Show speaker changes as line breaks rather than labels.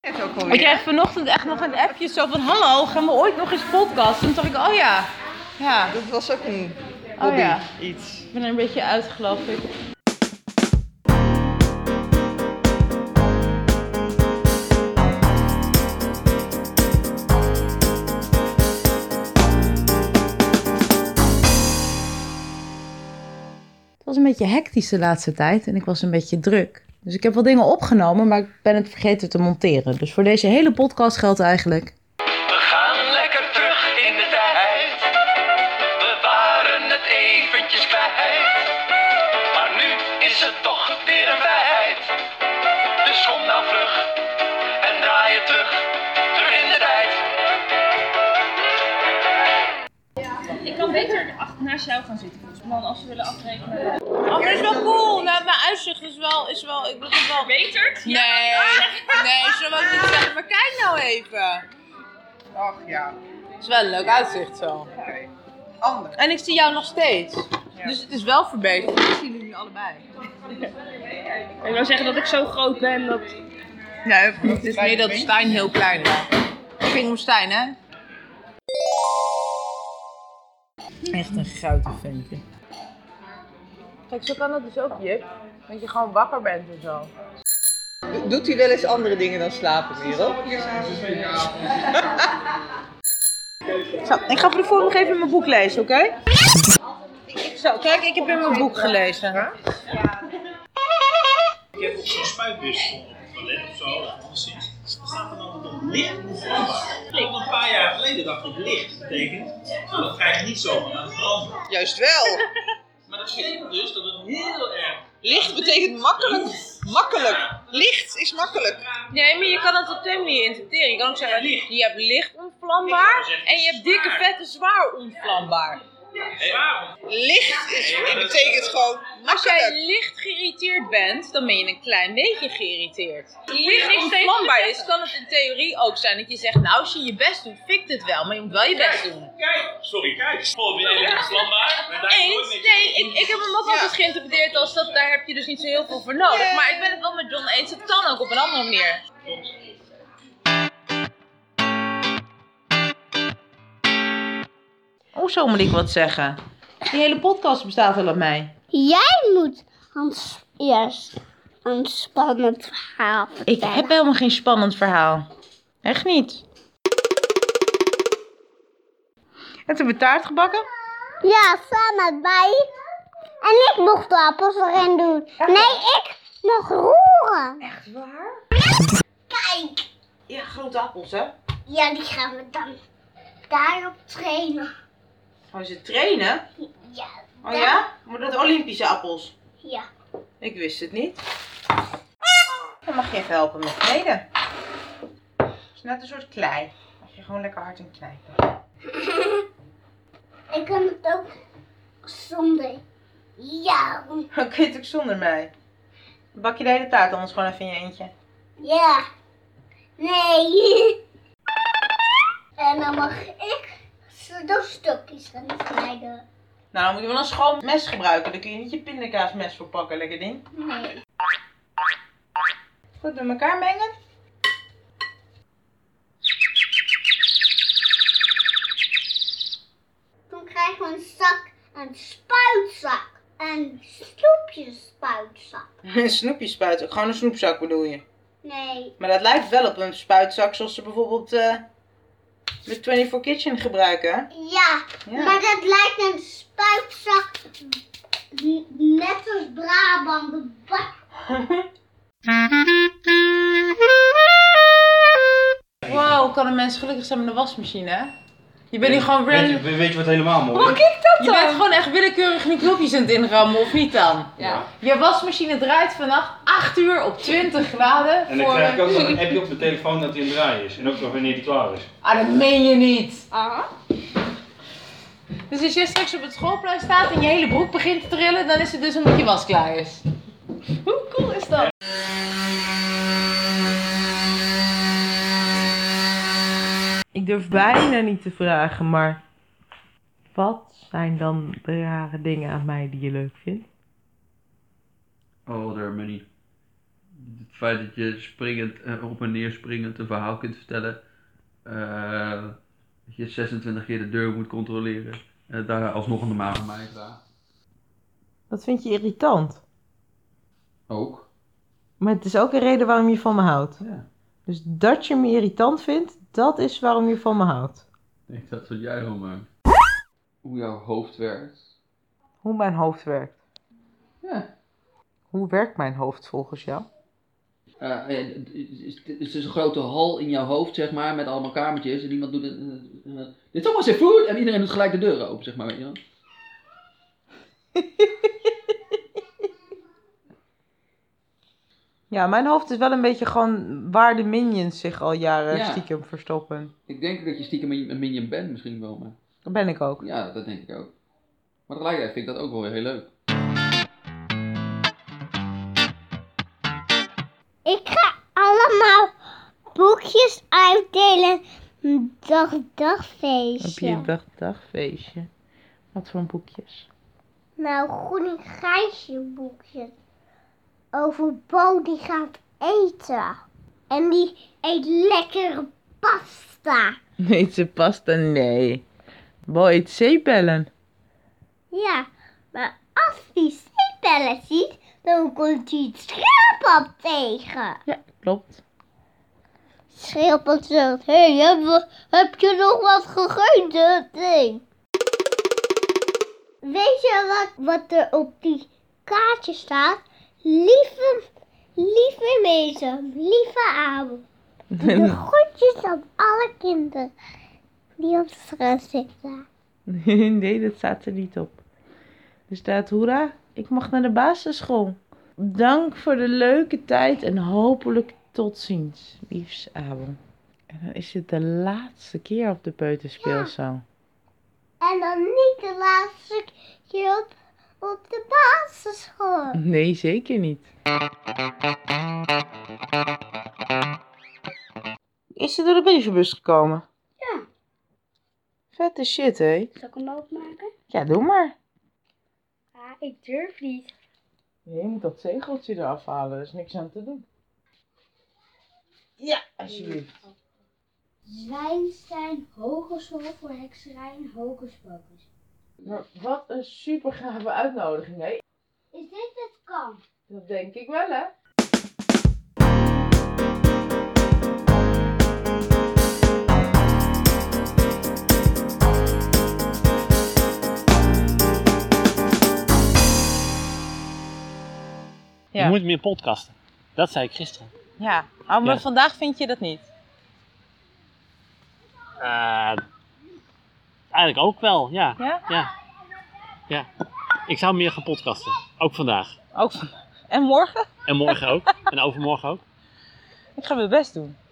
het ook alweer?
Ik kreeg vanochtend echt nog een appje zo van hallo, gaan we ooit nog eens podcasten? Toen dacht ik, oh ja, ja,
Dat was ook een
Oh
hobby,
ja.
iets.
ik ben er een beetje uit geloof ik. Het was een beetje hectisch de laatste tijd en ik was een beetje druk. Dus ik heb wel dingen opgenomen, maar ik ben het vergeten te monteren. Dus voor deze hele podcast geldt eigenlijk.
We gaan lekker terug in de tijd. We waren het eventjes kwijt. Maar nu is het toch weer een feit. Dus kom nou vlug en draai het terug. Terug in de tijd.
Ik kan beter achter naast jou gaan zitten, volgens mij, als we willen afrekenen.
Oh, dat is wel cool. Nou, mijn uitzicht is wel, is wel, ik bedoel wel...
Beter?
Nee, nee, zo wil ik niet zeggen. Maar kijk nou even.
Ach ja,
Het is wel een leuk uitzicht zo.
oké. Ander.
En ik zie jou nog steeds. Dus het is wel verbeterd. Ik zie jullie nu allebei.
Ik wil zeggen dat ik zo groot ben dat.
Nee, het is meer dat Stijn heel klein is. Ik ging om Stijn, hè? Echt een guitig ventje. Kijk, zo kan dat dus ook, Jip. Dat je gewoon wakker bent en zo.
Doet hij wel eens andere dingen dan slapen, Merel?
Zo, ik ga voor de vorm nog even mijn boek lezen, oké? Zo, kijk, ik heb in mijn boek gelezen.
Ik heb ook zo'n spuitbus voor dus op het toilet of zo, of anderszins. Er staat er altijd op licht onverbrandbaar. Want een paar jaar geleden dacht ik licht betekent, nou dat krijg je niet zomaar aan het branden.
Juist wel.
Maar dat betekent dus dat het heel erg
Licht betekent makkelijk. Makkelijk. Licht is makkelijk.
Nee, maar je kan het op twee manieren interpreteren. Je kan ook zeggen,
Licht.
je hebt licht onvlambaar en je hebt dikke, vette, zwaar onvlambaar.
zwaar is.
Licht is, betekent gewoon
Als jij
makkelijk.
licht geïrriteerd bent, dan ben je een klein beetje geïrriteerd. Licht
is
onvlambaar
tegen
is, kan het in theorie ook zijn dat je zegt, nou als je je best doet, fikt het wel, maar je moet wel je best doen.
Kijk, sorry, kijk. Voor weer elektrisch landbaar. maar daar nooit
Eens,
met je-
nee, ik, ik heb hem ook
Ja.
altijd geïnterpreteerd als dat, daar heb je dus niet zo heel veel voor nodig.
Nee.
Maar ik ben het wel met John eens, het kan ook op een andere manier. Hoezo Oh, moet ik wat zeggen? Die hele podcast bestaat al uit mij.
Jij moet een, s- eerst een spannend verhaal
Ik
vertellen.
heb helemaal geen spannend verhaal. Echt niet. En toen we taart gebakken.
Ja, samen bij. En ik mocht de appels erin doen. Nee, ik mocht roeren. Echt waar? Kijk.
Ja, grote appels hè.
Ja, die gaan we dan daarop trainen.
Gaan ze trainen?
Ja.
Oh ja? Maar dat Olympische appels.
Ja.
Ik wist het niet. Dan mag je even helpen met kneden. Het is net een soort klei. Mag je gewoon lekker hard in knijpen.
Ik kan het ook zonder jou.
Dan kun je het ook zonder mij. Dan bak je de hele taart anders gewoon even in je eentje.
Ja. Nee. En dan mag ik zo door stokjes gaan snijden.
Nou, dan moet je wel een schoon mes gebruiken. Daar kun je niet je pindakaasmes voor pakken, lekker ding.
Nee.
Goed met elkaar mengen.
Toen krijgen we een zak, een spuitzak. Een snoepjesspuitzak.
Een snoepjesspuit, ook gewoon een snoepzak bedoel je.
Nee.
Maar dat lijkt wel op een spuitzak zoals ze bijvoorbeeld eh de 24 Kitchen gebruiken. hè?
Ja,
Ja.
maar dat lijkt een spuitzak n- net als Brabant de bak.
Wow, kan een mens gelukkig zijn met een wasmachine, hè? Je bent nu gewoon
Weet je,
random...
weet je wat helemaal mooi
Pak
is?
ik dat dan? Je bent gewoon echt willekeurig nu knopjes aan het inrammen, of niet dan?
Ja.
Je wasmachine draait vannacht 8 uur op 20 graden
En dan
voor...
krijg ik ook nog
een-
een appje op mijn telefoon dat hij aan het draaien is. En ook nog wanneer hij klaar is.
Ah, dat meen je niet!
Ah.
Dus als jij straks op het schoolplein staat en je hele broek begint te trillen, dan is het dus omdat je was klaar is. Hoe cool is dat?
Ik durf bijna niet te vragen, maar wat zijn dan de rare dingen aan mij die je leuk vindt?
Oh, there are many.
het feit dat je springend, eh, op en neer springend een verhaal kunt vertellen. eh, dat je 26 keer de deur moet controleren. en daar alsnog een normaal van mij draagt.
Dat vind je irritant.
Ook.
Maar het is ook een reden waarom je van me houdt.
Ja.
Dus dat je me irritant vindt, dat is waarom je van me houdt.
Ik denk dat is wat jij gewoon maakt. Hoe jouw hoofd werkt.
Hoe mijn hoofd werkt.
Ja.
Hoe werkt mijn hoofd volgens jou?
Eh, eh, het is- het is dus een grote hal in jouw hoofd, zeg maar, met allemaal kamertjes. En iemand doet een, eh, eh, dit is allemaal zijn voet! En iedereen doet gelijk de deur open, zeg maar, weet je wel.
Ja, mijn hoofd is wel een beetje gewoon waar de minions zich al jaren
Ja.
stiekem verstoppen.
Ik denk dat je stiekem een een minion bent misschien wel, maar...
Dat ben ik ook.
Ja, dat denk ik ook. Maar tegelijkertijd vind ik dat ook wel weer heel leuk.
Ik ga allemaal boekjes uitdelen. Dag,
Heb je
dagfeestje.
een dag, dagfeestje? Wat voor boekjes?
Nou, groen en grijsje boekjes. Over Bo die gaat eten. En die eet lekkere pasta.
Nee, ze past dan nee. Bo eet zeepbellen.
Ja, maar als die zeepbellen ziet, dan komt hij het schildpad tegen.
Ja, klopt.
Schildpad zegt, hé, hey, heb, we- heb je nog wat gegeten? Nee. Weet je wat, wat er op die kaartje staat? Lieve, lieve mensen, lieve avond. De groetjes aan alle kinderen die op straat zitten.
nee, dat staat er niet op. Er staat, hoera, ik mag naar de basisschool. Dank voor de leuke tijd en hopelijk tot ziens, liefst Abel. En dan is het de laatste keer op de peuterspeelzaal.
En dan niet de laatste keer op, op de basisschool.
Nee, zeker niet. Is ze door de brievenbus gekomen?
Ja.
Vette shit, hé.
Zal ik hem openmaken?
Ja, doe maar.
Ja, ik durf niet.
Je moet dat zegeltje eraf halen, er is niks aan te doen. Ja, alsjeblieft.
Zwijnstein, hogeschool voor hekserij en hokuspokus.
Maar wat een super gave uitnodiging, hé.
Is dit het kamp?
Dat denk ik wel, hè. Ja.
Je moet meer podcasten. Dat zei ik gisteren.
Ja, maar
Ja.
vandaag vind je dat niet.
Eh, eigenlijk ook wel, ja.
Ja?
ja. Ja. Ik zou meer gaan podcasten. Ook vandaag.
Ook van... Oh, En morgen?
En morgen ook. en overmorgen ook.
Ik ga mijn best doen.